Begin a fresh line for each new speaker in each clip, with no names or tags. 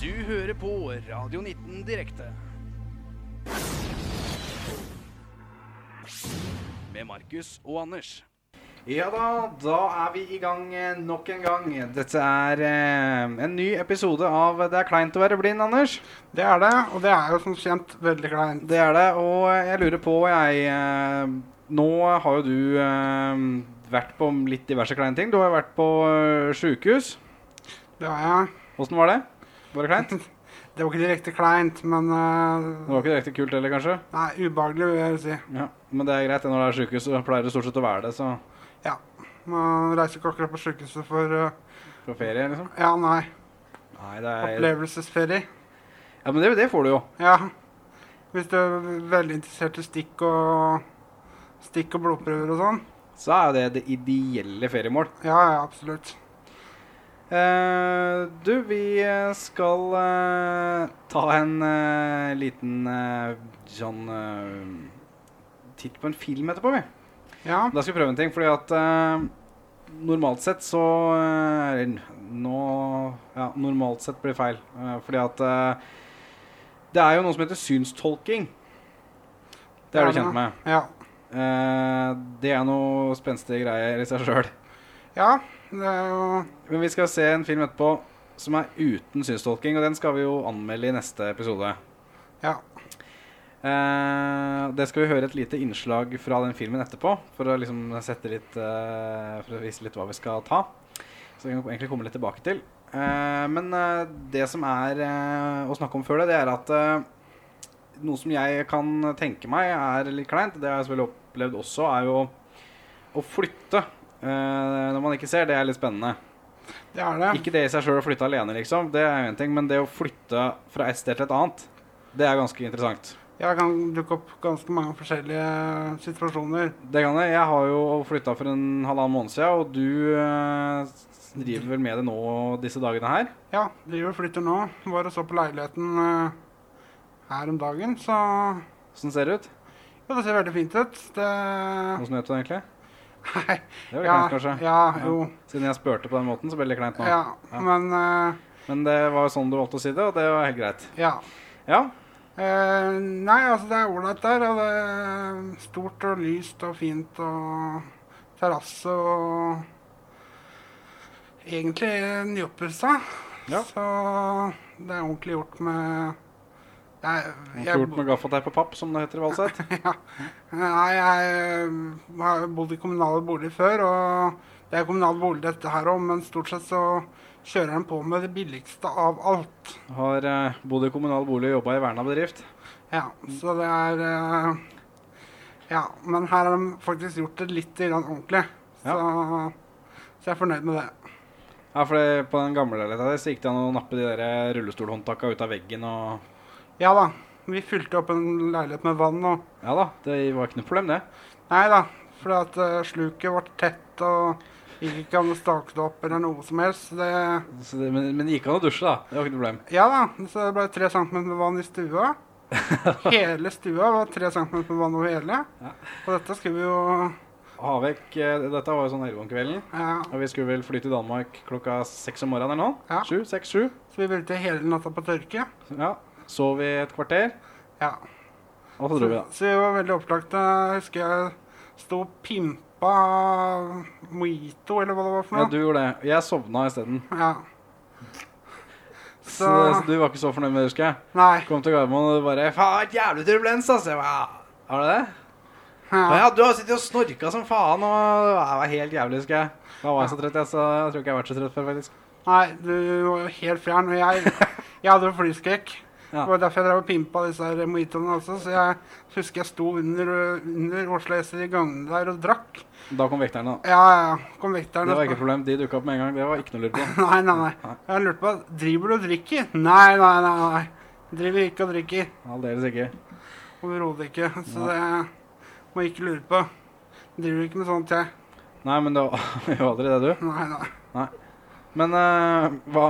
Du hører på Radio 19 direkte. Med Markus og Anders.
Ja da, da er vi i gang eh, nok en gang. Dette er eh, en ny episode av Det er kleint å være blind, Anders.
Det er det, og det er jo som kjent veldig kleint.
Det er det, og jeg lurer på jeg eh, Nå har jo du eh, vært på litt diverse kleine ting. Du har jo vært på eh, sjukehus.
Det var jeg.
Åssen var det? Var det kleint?
Det var ikke direkte kleint, men eh,
Det var ikke direkte kult heller, kanskje?
Nei, ubehagelig vil jeg si.
Ja, Men det er greit. det, Når det er sjukehus, så pleier det stort sett å være det. Så
Man reiser ikke akkurat på sykehuset for eh,
på ferie, liksom.
Ja, nei.
Nei, det er
Opplevelsesferie.
Ja, Men det, det får du jo.
Ja. Hvis du er veldig interessert i stikk og Stikk og blodprøver og sånn.
Så er jo det det ideelle feriemål.
Ja, ja, absolutt.
Eh, du, vi eh, skal eh, ta en eh, liten eh, sånn eh, titt på en film etterpå, vi.
Ja.
Da skal vi prøve en ting, fordi at eh, normalt sett så eh, Eller nå Ja, normalt sett blir feil. eh, fordi at eh, det er jo noe som heter synstolking. Det er du kjent med.
Ja.
Eh, det er noe spenstige greier i seg sjøl.
ja. Det er jo
Men vi skal se en film etterpå som er uten synstolking, og den skal vi jo anmelde i neste episode.
Ja.
Eh, det skal vi høre et lite innslag fra den filmen etterpå, for å liksom sette litt eh, For å vise litt hva vi skal ta. Så vi kan egentlig komme litt tilbake til. Eh, men eh, det som er eh, å snakke om før det, det er at eh, noe som jeg kan tenke meg er litt kleint, det har jeg selvfølgelig opplevd også, er jo å flytte eh, når man ikke ser. Det er litt spennende.
Det er det.
Ikke det i seg sjøl å flytte alene, liksom. Det er jo en ting, men det å flytte fra et sted til et annet, det er ganske interessant.
Jeg kan dukke opp ganske mange forskjellige situasjoner.
Det kan jeg. Jeg har jo flytta for en halvannen måned siden, og du eh, driver vel med det nå disse dagene her?
Ja, driver og flytter nå. Var og så på leiligheten eh, her om dagen, så
Åssen ser det ut?
Jo, det ser veldig fint ut. Det
Åssen vet du det egentlig? Det var litt
Nei. Ja,
kleint, kanskje.
ja,
Ja.
jo.
Siden jeg spurte på den måten, så ble det litt kleint nå.
Ja, men eh,
Men det var jo sånn du valgte å si det, og det var helt greit.
ja.
Ja.
Eh, nei, altså det er ålreit der. Og det er stort og lyst og fint og terrasse og Egentlig nyoppussa.
Ja.
Så det er ordentlig gjort med det er,
Gjort med gaffateip og papp, som det heter i Valset.
Nei, jeg eh, har bodd i kommunale boliger før, og det er kommunal bolig dette her òg, men stort sett så kjører de på med det billigste av alt.
Har eh, bodd i kommunal bolig og jobba i verna bedrift.
Ja, så det er eh, Ja, men her har de faktisk gjort det litt grann ordentlig, så, så jeg er fornøyd med det.
Ja, for det, på den gamle leiligheten der så gikk det an å nappe de der eh, rullestolhåndtakene ut av veggen og
Ja da, vi fylte opp en leilighet med vann og
Ja da, det var ikke noe problem, det.
Nei da, for at eh, sluket ble tett og gikk ikke an å stake det opp eller noe som helst. så det...
Så det men, men det gikk an å dusje, da. Det var ikke noe problem.
Ja da, så det ble tre centimeter med vann i stua. Hele stua var tre centimeter med vann over hele.
Ja.
Og dette skulle vi jo
Havek, eh, dette var jo sånn elleve om kvelden.
ja,
Og vi skulle vel fly til Danmark klokka seks om morgenen eller noe.
Ja.
Sju, seks, sju.
Så vi brukte hele natta på tørke.
Ja. Sov i et kvarter,
Ja.
og så
Så,
dro vi, da.
så vi var veldig opplagte. Jeg husker jeg sto og pimpa mojito, eller hva det var for
Ja,
noe.
du gjorde det. Jeg sovna isteden.
Ja.
Så...
Så-
så du var ikke så fornøyd med det, husker jeg.
Nei.
Kom til Gardermoen og du bare Faen, jævlig turbulens, altså. Jeg bare, "Ja, Har du det? Ja,
Ja.
ja, du har sittet og snorka som faen, og jeg var helt jævlig, husker jeg. Da var jeg så trøtt, jeg, så jeg tror ikke jeg har vært så trøtt før, faktisk.
Nei, du var jo helt fjern. Og jeg, jeg hadde jo flyskrekk.
Ja.
Det var derfor jeg drev og pimpa disse her mojitoene også. Så jeg husker jeg sto under, under Oslo S i gangene der og drakk.
Da kom vekterne, da.
Ja, ja, ja. Kom vekk der.
Det var ikke et problem. De dukka opp med en gang. Det var ikke noe å lure på.
Nei, nei, nei. Jeg lurte på driver du og drikker. Nei, nei, nei. nei. Driver ikke og drikker.
Aldeles ikke.
Overhodet ikke. Så det må jeg ikke lure på. Driver ikke med sånt, jeg.
Nei, men det var vi var aldri det, du.
Nei, nei.
Men eh, hva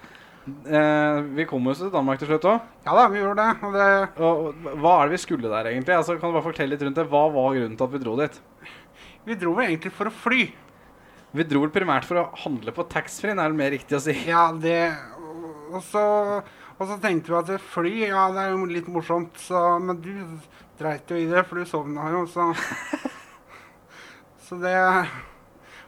eh, Vi kom oss til Danmark til slutt òg.
Ja da, vi gjorde det. Og det
Og hva er det vi skulle der, egentlig? Altså, kan du bare fortelle litt rundt det? Hva var grunnen til at vi dro dit?
vi dro vel egentlig for å fly.
Vi dro vel primært for å handle på taxfree, er det mer riktig å si.
Ja, det Og så, og så tenkte vi at fly, ja, det er jo litt morsomt, så, men du dreit jo i det, for du sovna jo, så Så det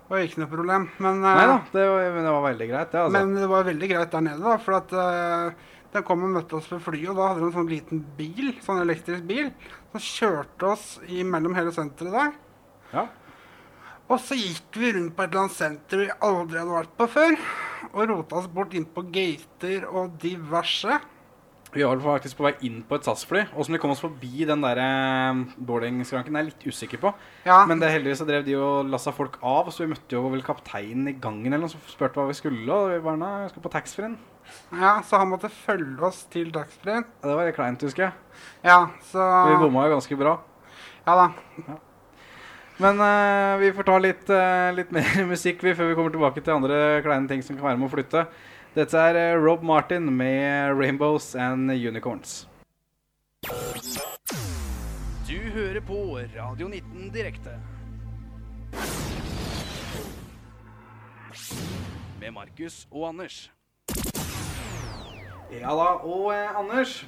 var ikke noe problem. Men, eh,
Nei da, det, var- men det var veldig greit, det, altså.
men det var veldig greit der nede, da, for at eh, de kom og møtte oss ved flyet, og da hadde de en sånn liten bil, sånn elektrisk bil, som kjørte oss imellom hele senteret der.
ja.
Og så gikk vi rundt på et eller annet senter vi aldri hadde vært på før. Og rota oss bort inn på gater og diverse.
Vi var vel faktisk på vei inn på et SAS-fly. Åssen vi kom oss forbi den der eh, boardingskranken, er jeg litt usikker på.
Ja,
Men det heldigvis så drev de og lassa folk av, så vi møtte jo vel kapteinen i gangen eller noe som spurte hva vi skulle, og vi bare nei, vi skal på taxfree-en.
ja så han måtte følge oss til dagsfrien.
Ja, Det var kleint, husker jeg.
Ja, så
Vi bomma jo ganske bra.
Ja da.
Men eh, vi får ta litt, eh, litt mer musikk vi, før vi kommer tilbake til andre kleine ting som kan være med å flytte. Dette er eh, Rob Martin med 'Rainbows and Unicorns'.
Du hører på Radio 19 direkte. Med Markus og Anders.
Ja da. Og eh, Anders,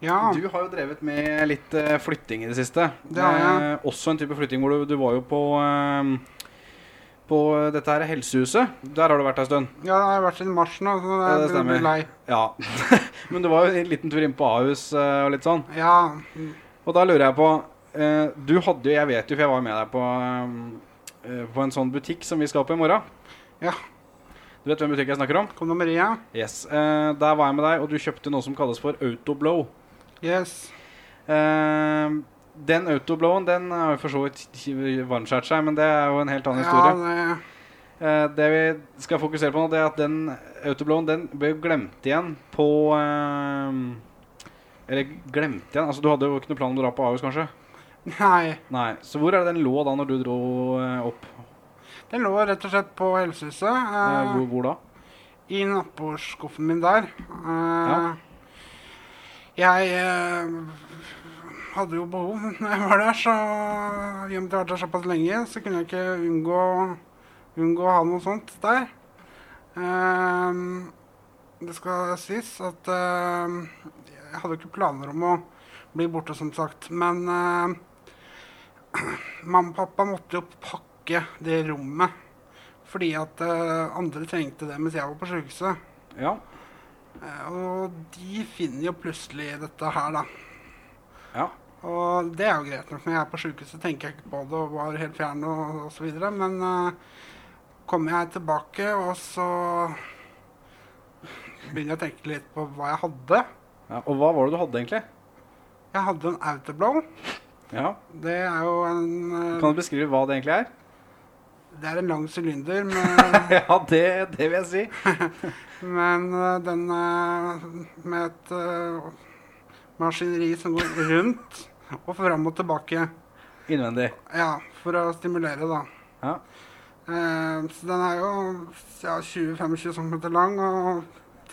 Ja.
du har jo drevet med litt eh, flytting i det siste.
Ah. Det har jeg.
Eh, også en type flytting hvor du, du var jo på eh, på eh, dette her helsehuset. Der har du vært ei stund.
ja, det har vært siden mars nå, så
Ja,
jeg
det
begynner å bli
stemmer.
lei.
Ja. Men du var jo en liten tur inn på Ahus eh, og litt sånn.
Ja.
Og da lurer jeg på eh, Du hadde jo, jeg vet jo, for jeg var jo med deg på, eh, på en sånn butikk som vi skal på i morgen.
Ja.
Du vet hvem butikk jeg snakker om?
Kom nummer én.
Yes. Eh, der var jeg med deg, og du kjøpte noe som kalles for autoblow.
Yes.
Eh, den autoblowen den har jo for så vidt vanskjært seg, men det er jo en helt annen
Ja,
historie.
det,
Eh, det vi skal fokusere på nå, det er at den autoblowen den ble jo glemt igjen på eh, Eller glemt igjen? Altså, du hadde jo ikke noe plan om å dra på Ahus, kanskje?
nei.
Nei, så hvor er det den lå da når du dro eh, opp?
Den lå rett og slett på helsehuset.
Eh,
Eh,
hvor, hvor da?
I nattbordskuffen min der. Eh, Jeg eh, hadde jo behov når jeg var der, så i og med at jeg har vært der såpass lenge, så kunne jeg ikke unngå, unngå å ha noe sånt der. Eh, det skal sies at eh, jeg hadde jo ikke planer om å bli borte, som sagt. Men eh, mamma og pappa måtte jo pakke det rommet. Fordi at eh, andre trengte det mens jeg var på sjukehuset.
Ja.
Eh, Og de finner jo plutselig dette her, da.
ja.
Og det er jo greit nok. Når jeg er på sjukehuset, tenker jeg ikke på det og var helt fjern og, og så videre. Men eh, kommer jeg tilbake, og så begynner jeg å tenke litt på hva jeg hadde.
ja. Og hva var det du hadde, egentlig?
Jeg hadde en autoblow.
Ja.
Det er jo en eh,
Kan du beskrive hva det egentlig er?
Det er en lang sylinder, men,
ja, det, det vil jeg si.
men eh, den eh, med et eh, maskineri som går rundt og fram og tilbake.
Innvendig.
Ja, for å stimulere, da.
Ja.
Eh, så den er jo ja, 20-25 cm lang og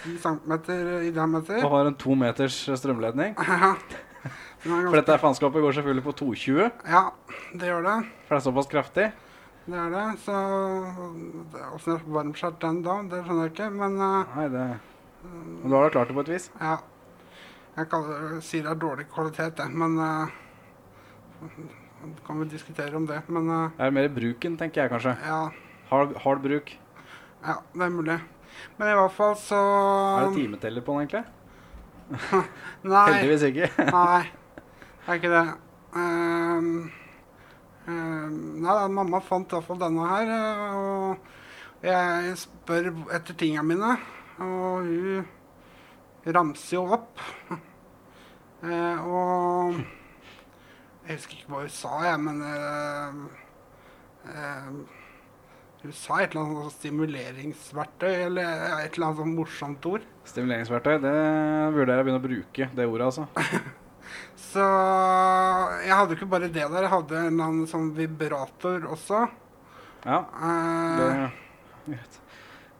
10 cm i diameter.
Og har en to meters strømledning.
Ja. Den er
For
ganske,
dette her faenskapet går selvfølgelig på 220,
ja, det gjør det.
for det er såpass kraftig.
Det er det. Så åssen jeg varmskjært den da, det skjønner jeg ikke, men eh,
Nei, det Men du har da klart det på et vis?
ja. Jeg kaller, sier det er dårlig kvalitet, jeg, men eh, Kan vi diskutere om det, men eh,
Det er mer bruken, tenker jeg kanskje.
ja.
Hard, hard bruk.
Ja, det er mulig. Men i hvert fall så
Er det timeteller på den, egentlig?
Um, Nei.
Heldigvis ikke.
Nei, det er ikke det. Ehm, ehm, nei, da, mamma fant iallfall denne her, eh, og jeg spør etter tinga mine, og hun ramser jo opp. Eh, og jeg husker ikke hva hun sa, jeg, men eh, eh, hun sa et eller annet sånt stimuleringsverktøy, eller eh, et eller annet sånt morsomt ord.
Stimuleringsverktøy, det vurderer jeg å begynne å bruke, det ordet, altså.
Så jeg hadde jo ikke bare det der, jeg hadde en eller annen sånn vibrator også.
Ja. Det
Eh,
greit.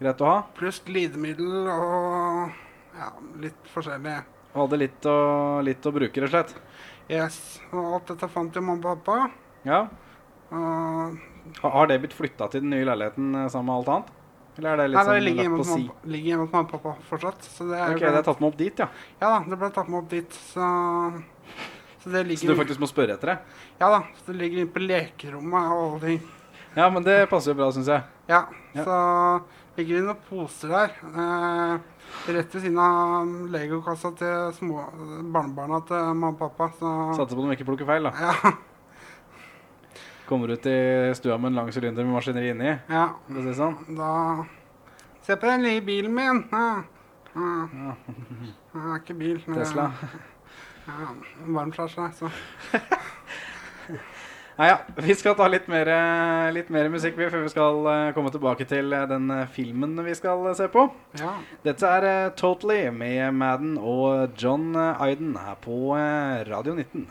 Greit å ha.
pluss glidemiddel og ja, litt forskjellig.
Og hadde litt å, litt å bruke, rett og slett.
Yes. Og alt dette fant jo mamma og pappa.
Ja.
Og
Ha- Har det blitt flytta til den nye leiligheten eh, sammen med alt annet? Eller er det litt
Nei, det
sånn
ligger hjemme,
lagt på
hos
si?
mamma, ligger hjemme hos mamma og pappa fortsatt. Så det er
Ok, det er tatt med opp dit, ja.
Ja da, det ble tatt med opp dit. Så,
Så
så det
du
ligger
faktisk må spørre etter det?
Ja da, så det ligger inne på lekerommet og alle ting.
Ja, men det passer jo bra, syns jeg.
Ja,
Ja.
så ligger det noen poser der. Eh, rett ved siden av legokassa til små barnebarna til mamma og pappa. Så,
Satser på at de ikke plukker feil, da.
ja,
Kommer ut i stua med en lang sylinder med maskineri inni.
ja,
for å si det sånn.
da Se på den lille bilen min! Ja. Ja. Ja, ikke bil. men-
Tesla.
Ja, Varmflasje, så.
Nei, ja. Vi skal ta litt mer, eh, litt mer musikk vi, før vi skal eh, komme tilbake til eh, den eh, filmen vi skal eh, se på.
Ja.
Dette er eh, Totally med Madden og John eh, Aiden her på eh, Radio 19.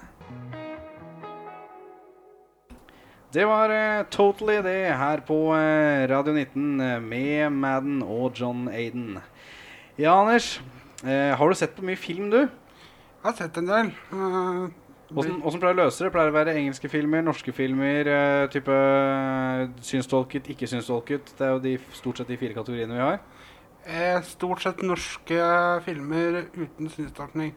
Det var eh, Totally det her på eh, Radio 19 eh, med Madden og John Aiden. Ja, Anders. eh, har du sett på mye film, du?
Jeg har sett en del. Eh,
Åssen åssen pleier du å løse det? Pleier det å være engelske filmer, norske filmer, eh, type eh, synstolket, ikke synstolket? Det er jo de, stort sett de fire kategoriene vi har.
Eh, Stort sett norske filmer uten synstolkning.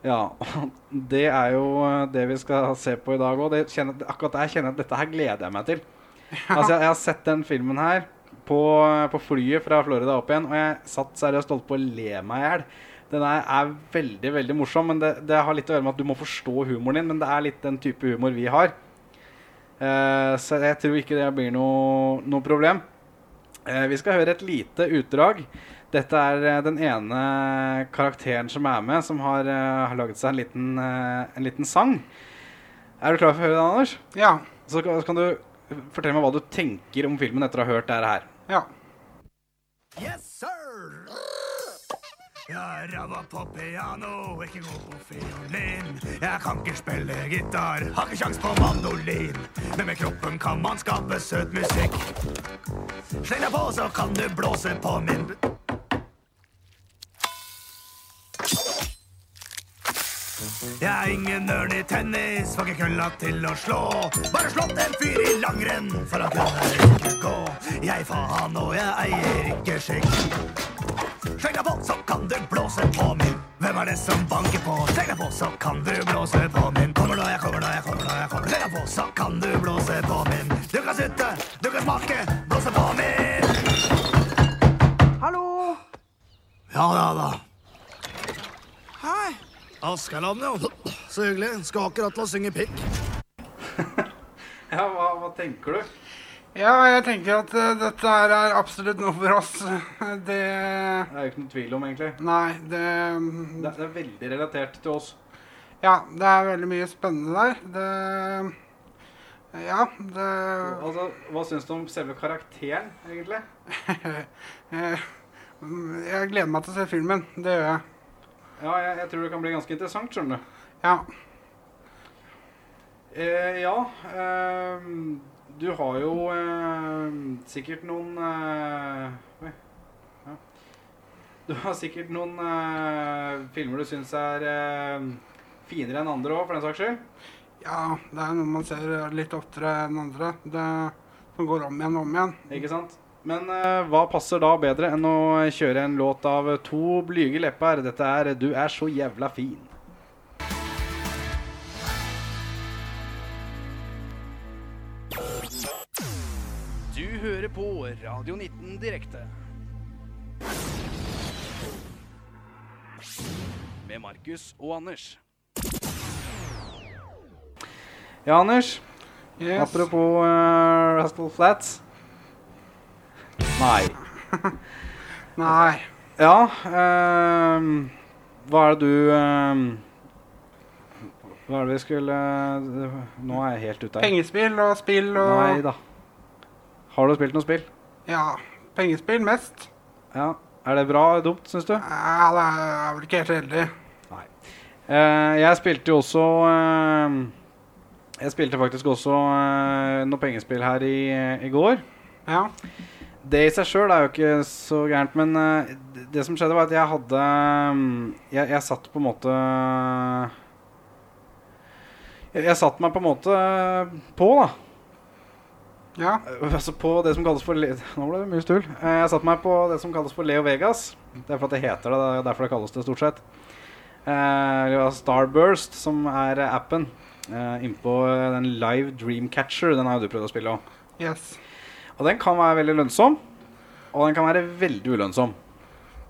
Ja, og det er jo eh, det vi skal se på i dag òg. Akkurat der kjenner jeg at dette her gleder jeg meg til. Altså, jeg, jeg har sett den filmen her på, eh, på flyet fra Florida opp igjen, og jeg satt seriøst holdt på å le meg i hjel. Den er, er veldig veldig morsom, men det, det har litt å gjøre med at du må forstå humoren din. Men det er litt den type humor vi har. Eh, så jeg tror ikke det blir noe, noe problem. Eh, vi skal høre et lite utdrag. Dette er eh, den ene karakteren som er med, som har, eh, har laget seg en liten, eh, en liten sang. Er du klar for å høre den, Anders?
Ja.
Så kan, så kan du fortelle meg hva du tenker om filmen etter å ha hørt det her.
Ja.
Yes, sir! Jeg er ræva på piano, ikke god på fiolin. Jeg kan ikke spille gitar, har ikke sjans på mandolin. Men med kroppen kan man skape søt musikk. Sleng deg på, så kan du blåse på min bu- Jeg er ingen ørn i tennis, får ikke kølla til å slå. Bare slått en fyr i langrenn, for han kunne ikke gå. Jeg faen, og jeg eier ikke skikk. Sleng deg på, så kan du blåse på min. Hvem er det som banker på? Sleng deg på, så kan du blåse på min. Kommer nå, jeg kommer nå, jeg kommer nå, jeg kommer. Sleng deg på, så kan du blåse på min. Du kan sutte, du kan smake, blåse på min.
Hallo!
Ja da, da.
Hei!
Askeland, jo. Så hyggelig. Skal akkurat til å synge pikk.
Ja, hva, tenker du?
ja, jeg tenker at eh, dette her er absolutt noe for oss. Det
Det er jo ikke noen tvil om, egentlig.
Nei, det
Det, det er veldig relatert til oss.
Ja, det er veldig mye spennende der. Det Ja, det
Altså, Hva syns du om selve karakteren, egentlig?
eh, mm, Jeg gleder meg til å se filmen. Det gjør jeg.
Ja, jeg, jeg tror det kan bli ganske interessant, skjønner du.
Ja.
Eh, ja. ehm, du har jo ehm, sikkert noen eh, oi, ja. Du har sikkert noen eh, filmer du syns er ehm, finere enn andre òg, for den saks skyld.
ja, det er noe man ser litt oftere enn andre. Det som går om igjen og om igjen.
Ikke sant? Men eh, hva passer da bedre enn å kjøre en låt av to blyge lepper? Dette er 'Du er så jævla fin'.
Du hører på Radio 19 direkte. Med Markus og Anders.
Ja, Anders.
Yes.
Apropos uh, Rascal Flats. Nei.
Nei.
Ja ehm, Hva er det du ehm, Hva er det vi skulle Nå er jeg helt ute her.
Pengespill og spill og
Nei da. Har du spilt noe spill?
Ja. Pengespill mest.
Ja. Er det bra eller dumt, syns du?
Ja, det er vel ikke helt heldig.
Nei. Eh, jeg spilte jo også eh, Jeg spilte faktisk også eh, noe pengespill her i, i går.
Ja.
Det i seg sjøl er jo ikke så gærent, men eh, det- det som skjedde, var at jeg hadde mm, Jeg, jeg satt på en måte jeg, jeg satt meg på en måte på, da.
Ja.
Altså på det som kalles for Le- Nå ble det mye stull. Eh, Jeg satte meg på det som kalles for Leo Vegas. Det er for at det heter det. Det er derfor det kalles det stort sett. Eh, det var Starburst, som er eh, appen. eh, Innpå eh, den Live Dreamcatcher. Den har jo du prøvd å spille òg.
Yes.
Og den kan være veldig lønnsom, og den kan være veldig ulønnsom.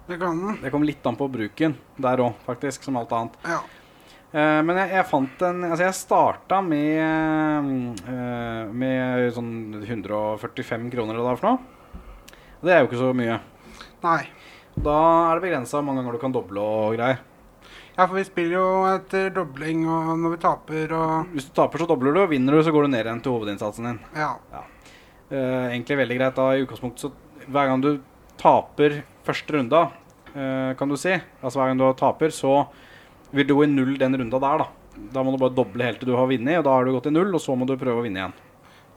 Det kan den.
Det kommer litt an på bruken der òg, faktisk, som alt annet.
Ja.
Eh, men jeg, jeg fant en Altså, jeg starta med eh, Med sånn 145 kroner eller hva det er for noe. Og det er jo ikke så mye.
Nei.
Da er det begrensa hvor mange ganger du kan doble og greier.
Ja, for vi spiller jo etter dobling og når vi taper og
Hvis du taper, så dobler du, og vinner du, så går du ned igjen til hovedinnsatsen din.
Ja.
Eh, egentlig veldig greit da i utgangspunktet, så hver gang du taper første runda, eh, kan du si, altså hver gang du taper, så vil du gå i null den runda der, da. Da må du bare doble helt til du har vunnet, og da har du gått i null, og så må du prøve å vinne igjen.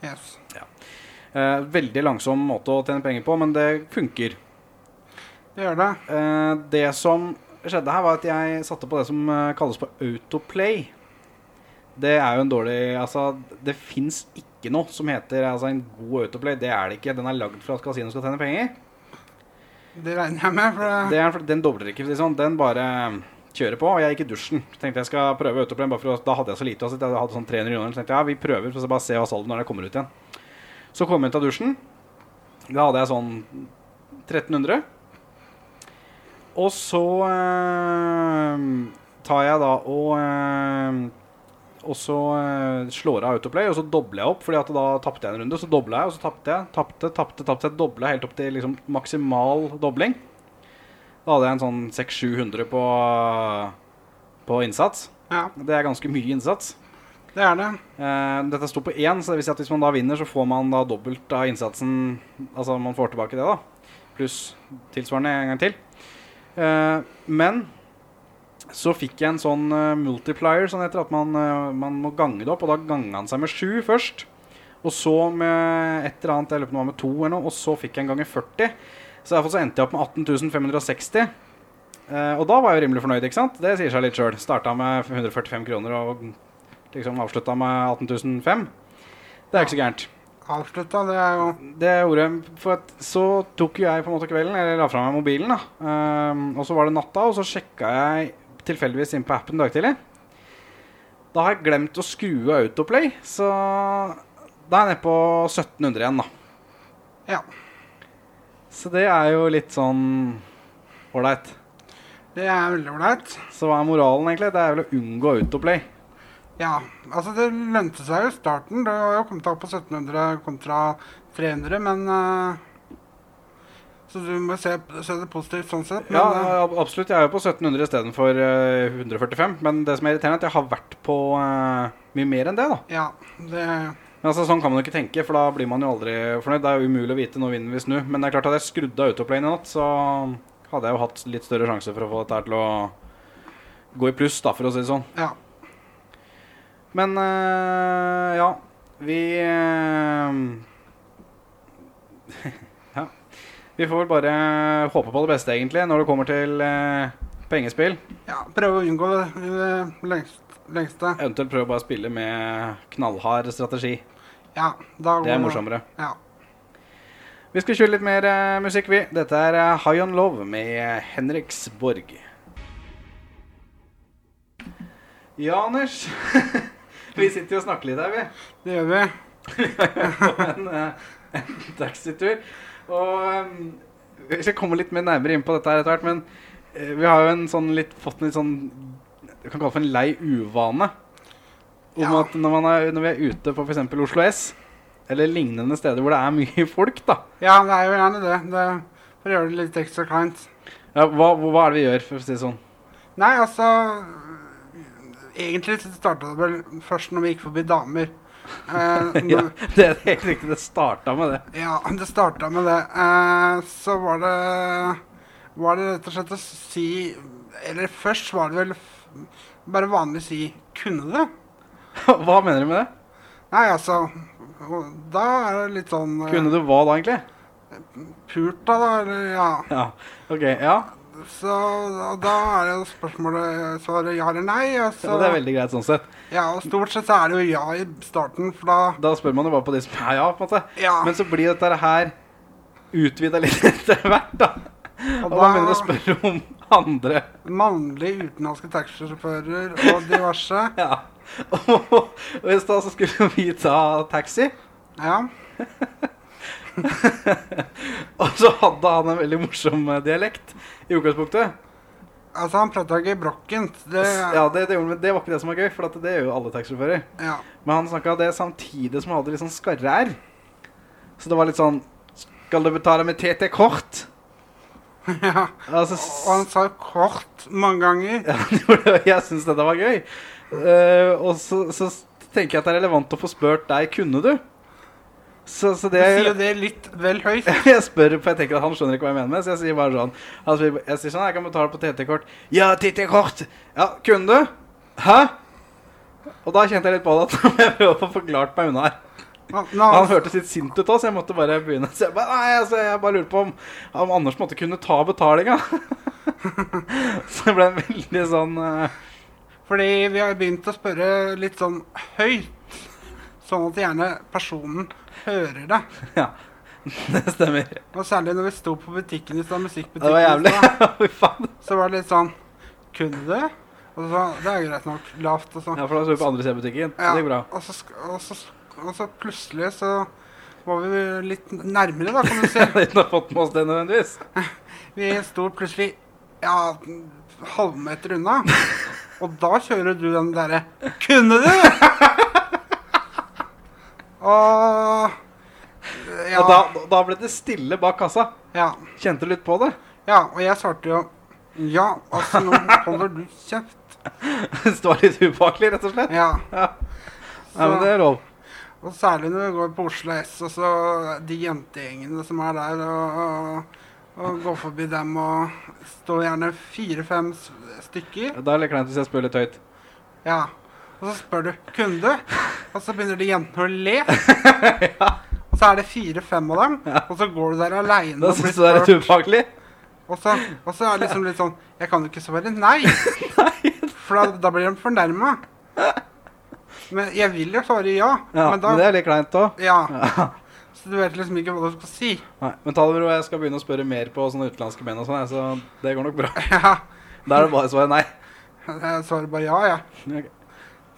Yes.
Eh, veldig langsom måte å tjene penger på, men det funker.
Det gjør det.
Eh, det som skjedde her, var at jeg satte på det som eh, kalles på autoplay. Det er jo en dårlig Altså, det fins ikke noe som heter altså, en god autoplay. Det er det ikke. Den er lagd for at kasino skal tjene penger.
Det regner jeg med, for det,
Det er, den dobler ikke. for å si det sånn. Den bare kjører på. Og jeg gikk i dusjen. Tenkte jeg skal prøve autoplay. Bare for, å- da hadde jeg så lite. Altså, jeg hadde sånn 300 kroner. Så tenkte jeg ja, vi prøver, så bare se hva salget når det kommer ut igjen. Så kom jeg ut av dusjen. Da hadde jeg sånn 1300. Og så eh, tar jeg da og eh, Og så eh, slår jeg autoplay, og så dobler jeg opp. Fordi at da tapte jeg en runde. Så dobla jeg, og så tapte jeg. Tapte, tapte, tapte. Jeg dobla helt opp til liksom, maksimal dobling. Da hadde jeg en sånn 600-700 på, på innsats.
ja,
Det er ganske mye innsats.
det er det.
Eh, dette sto på én, så det vil si at hvis man da vinner, så får man da dobbelt av innsatsen. Altså man får tilbake det, da. Pluss tilsvarende en gang til. Eh, men så fikk jeg en sånn eh, multiplier, sånn heter det, at man, eh, man må gange det opp. Og da ganga han seg med sju først. Og så med et eller annet, jeg lurer på om det var med to eller noe, og så fikk jeg en ganger 40. Så derfor så endte jeg opp med 18.560. Eh, og da var jeg jo rimelig fornøyd, ikke sant? Det sier seg litt sjøl. Starta med 145 kroner og liksom avslutta med 18.005. Det er ikke så gærent.
Avslutta, det er jo
Det gjorde jeg For at så tok jo jeg på en måte kvelden, eller la fra meg mobilen, da. Ehm, og så var det natta, og så sjekka jeg tilfeldigvis inn på appen dag tidlig. Da har jeg glemt å skru av Autoplay, så da er jeg nede på 1700 igjen, da.
Ja.
Så det er jo litt sånn ålreit.
Det er veldig ålreit.
Så hva er moralen, egentlig? Det er vel å unngå Autoplay.
Ja. Altså, det lønte seg jo i starten. Det har jo kommet deg opp på 1700 kontra 300, men eh, Så du må se, se det positivt sånn sett. Men,
Ja,
eh,
ab- absolutt. Jeg er jo på 1700 istedenfor eh, 145. Men det som er irriterende, er at jeg har vært på eh, mye mer enn det, da.
ja, det
Men altså, sånn kan man jo ikke tenke, for da blir man jo aldri fornøyd. Det er jo umulig å vite når vinden vil snu. Men det er klart at jeg skrudde av autoplayen i natt, så hadde jeg jo hatt litt større sjanse for å få dette her til å gå i pluss, da, for å si det sånn.
Ja.
Men eh, ja, vi eh, Ja. Vi får vel bare eh, håpe på det beste, egentlig, når det kommer til eh, pengespill.
ja prøve å unngå det, det lengst, lengste.
Eventuelt prøve å bare spille med knallhard strategi.
Ja, da går
Det er morsommere.
Ja.
Vi skal kjøre litt mer eh, musikk, vi. Dette er eh, High On Love med Henriks Borg. Ja, Anders. vi sitter jo og snakker litt her, vi.
Det gjør vi.
på en, eh, en taxitur. Og ehm, vi skal komme litt mer nærmere inn på dette her etter hvert, men eh, vi har jo en sånn litt, fått en litt sånn Du kan kalle det for en lei uvane. Om
Ja.
at når, man er, når vi er ute på f.eks. Oslo S, eller lignende steder hvor det er mye folk, da
Ja, det er jo gjerne det. det for å gjøre det litt ekstra kleint.
ja, hva, hva er det vi gjør, for å si det sånn?
Nei, altså Egentlig starta det vel først når vi gikk forbi damer. Eh,
Ja,
når-
det er helt riktig. Det starta med det.
ja, det starta med det. Eh, så var det Var det rett og slett å si Eller først var det vel f- bare vanlig å si 'kunne det'?
Hva mener du med det?
Nei, altså og Da er det litt sånn eh,
Kunne du hva da, egentlig?
pult, da, da. Eller ja.
Ja, ok, ja
Så og da er jo spørsmålet svaret ja eller nei. Og,
Ja, det er
så,
veldig greit sånn sett.
ja, og stort sett så er det jo ja i starten, for da
Da spør man jo bare på de som er ja, på en måte.
Ja.
Men så blir dette her utvida litt etter hvert, da. Og da begynner du å spørre om andre.
Mannlige utenlandske taxisjåfører og diverse.
Ja. Og, og i stad så skulle vi ta taxi,
Ja.
og så hadde han en veldig morsom eh, dialekt i utgangspunktet.
Altså, han prata ikke brokkent. Det
Ja, det, det, gjorde han, men det var ikke det som var gøy, for at det gjør jo alle taxisjåfører.
ja.
Men han snakka det samtidig som han hadde litt sånn skarre-r. Så det var litt sånn Skal du betale med TT-kort?
ja.
Altså,
Og han sa kort mange ganger.
Ja, han gjorde det, og jeg syns dette var gøy. Eh, og så, så tenker jeg at det er relevant å få spurt deg kunne du. Så, så det
Du sier jo det litt vel høyt.
Jeg spør, for jeg tenker at han skjønner ikke hva jeg mener med Så jeg sier bare sånn han sier, Jeg sier sånn, jeg kan betale på TT-kort Ja, TT-kort Ja, kunne du? Hæ? Og da kjente jeg litt på det at nå må jeg prøve å få forklart meg unna her
Nå,
Han
nå,
hørtes litt sint ut også, jeg måtte bare begynne Så jeg bare, nei, altså, jeg bare lurer på om Om Anders måtte kunne ta betalinga Så det ble en veldig sånn eh,
fordi vi har begynt å spørre litt sånn høyt. Sånn at gjerne personen hører det.
Ja, det stemmer
Og særlig når vi sto på butikken i stad, musikkbutikken,
Det var
i
jævlig
stad,
Fy faen
så var det litt sånn Kunne du? Og så, det er greit nok. Lavt og sånn.
Ja, for da så vi på andre siden av butikken
Ja,
Det gikk bra
Og så, sk- og, så, sk- og så plutselig så var vi litt nærmere, da, kan du si.
Jeg har ikke fått med oss det nødvendigvis
Vi sto plutselig ja, en halvmeter unna. Og da kjører du den derre 'Kunne du?' Og ja,
Og da, da ble det stille bak kassa.
ja.
Kjente litt på det.
Ja, og jeg svarte jo Ja, altså, nå holder du kjeft.
Det var litt ubehagelig, rett og slett.
Ja.
Ja. Nei, men det er lov.
Og særlig når vi går på Oslo S, og så de jentegjengene som er der, og, og, og går forbi dem og står gjerne fire-fem s- stykker.
Da er det litt kleint hvis jeg spør litt høyt.
Ja. Og så spør du 'Kunne du?' Og så begynner de jentene å le. Og så er det fire-fem av dem, og så går du der aleine
Da
og blir
syns du det er
spurt.
litt ubehagelig?
Og så, og så er det liksom litt sånn Jeg kan jo ikke svare nei. For da, da blir de fornærma. Men jeg vil jo svare ja.
Ja,
men da
men det er litt kleint òg.
Ja. Så du vet liksom ikke hva du skal si.
Men ta det med ro, jeg skal begynne å spørre mer på sånne utenlandske menn og sånn, jeg, så det går nok bra.
Ja.
Da er det bare å svare nei.
Jeg svarer bare ja, jeg.
Ok.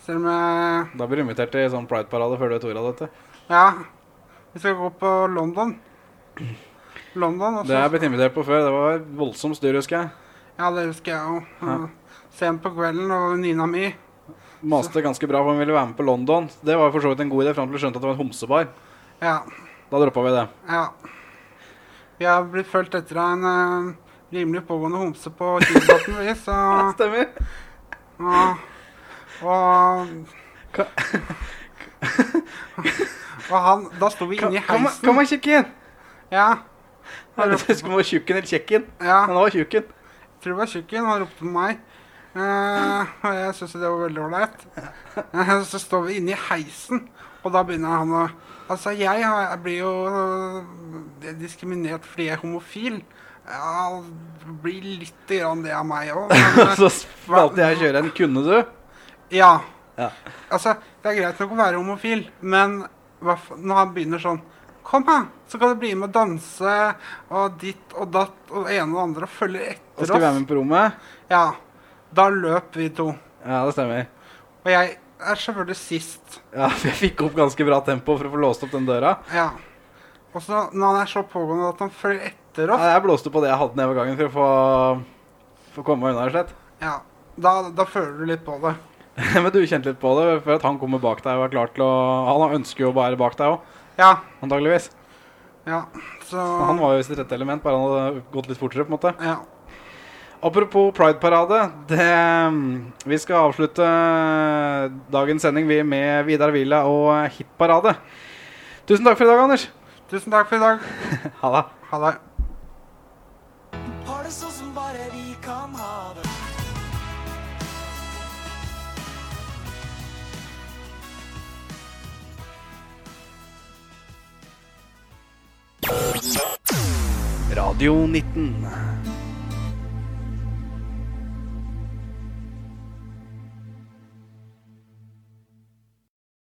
Selv om jeg
Da blir du invitert til sånn Pride-parade før du vet ordet av dette.
Ja. Vi skal gå på London. London, og
Det er jeg
så
blitt invitert på før. Det var voldsomt styr, husker jeg.
Ja, det husker jeg jo. Mm. Sent på kvelden, og venninna mi
Maste ganske bra på om hun ville være med på London. Det var jo for så vidt en god idé fram til du skjønte at det var en homsebar.
Ja.
Da droppa vi det.
ja. Vi har blitt fulgt etter av en eh, rimelig pågående homse på Kilebotn, vi, så
Stemmer.
og, og,
Ka-
og han Da sto vi inne i
Kom,
heisen.
kom og kikk igjen!
Ja.
Jeg vet ikke husker om han var tjukken eller kjekken.
ja.
Men han var tjukken.
tror det var tjukken, han ropte på meg. Eh, og jeg syntes jo det var veldig ålreit. Eh, så står vi inne i heisen, og da begynner han å Altså, jeg, har- jeg blir jo eh, diskriminert fordi jeg er homofil. Ja, det blir litt grann det av meg òg.
Så valgte jeg å kjøre en 'kunne du'?
Ja.
Ja.
Altså, det er greit nok å være homofil, men hva f- når han begynner sånn Kom, da! Så kan du bli med og danse, og ditt og datt og det ene og det andre, og følger
Og
etter
skulle være
oss.
med på rommet?
Ja. Da løp vi to.
Ja, det stemmer.
Og jeg er selvfølgelig sist.
Ja, for Jeg fikk opp ganske bra tempo for å få låst opp den døra.
Ja. Og så når han er så pågående at han følger etter oss,
Ja, jeg blåste på det jeg hadde nedover gangen for å få, få komme meg unna. rett og slett.
ja, da, da føler du litt på det.
Men du kjente litt på det før at han kommer bak deg og er klar til å Han ønsker jo å være bak deg òg,
Ja.
antageligvis.
Ja. Så
Han var jo i sitt rette element, bare han hadde gått litt fortere. på en måte.
ja.
Apropos Pride-parade. det- mm, Vi skal avslutte eh, dagens sending vi med Vidar Villa og hitparade. Tusen takk for i dag, Anders.
Tusen takk for i dag.
Ha det.
Ha det.
Har det sånn som bare vi kan ha det.
Radio 19.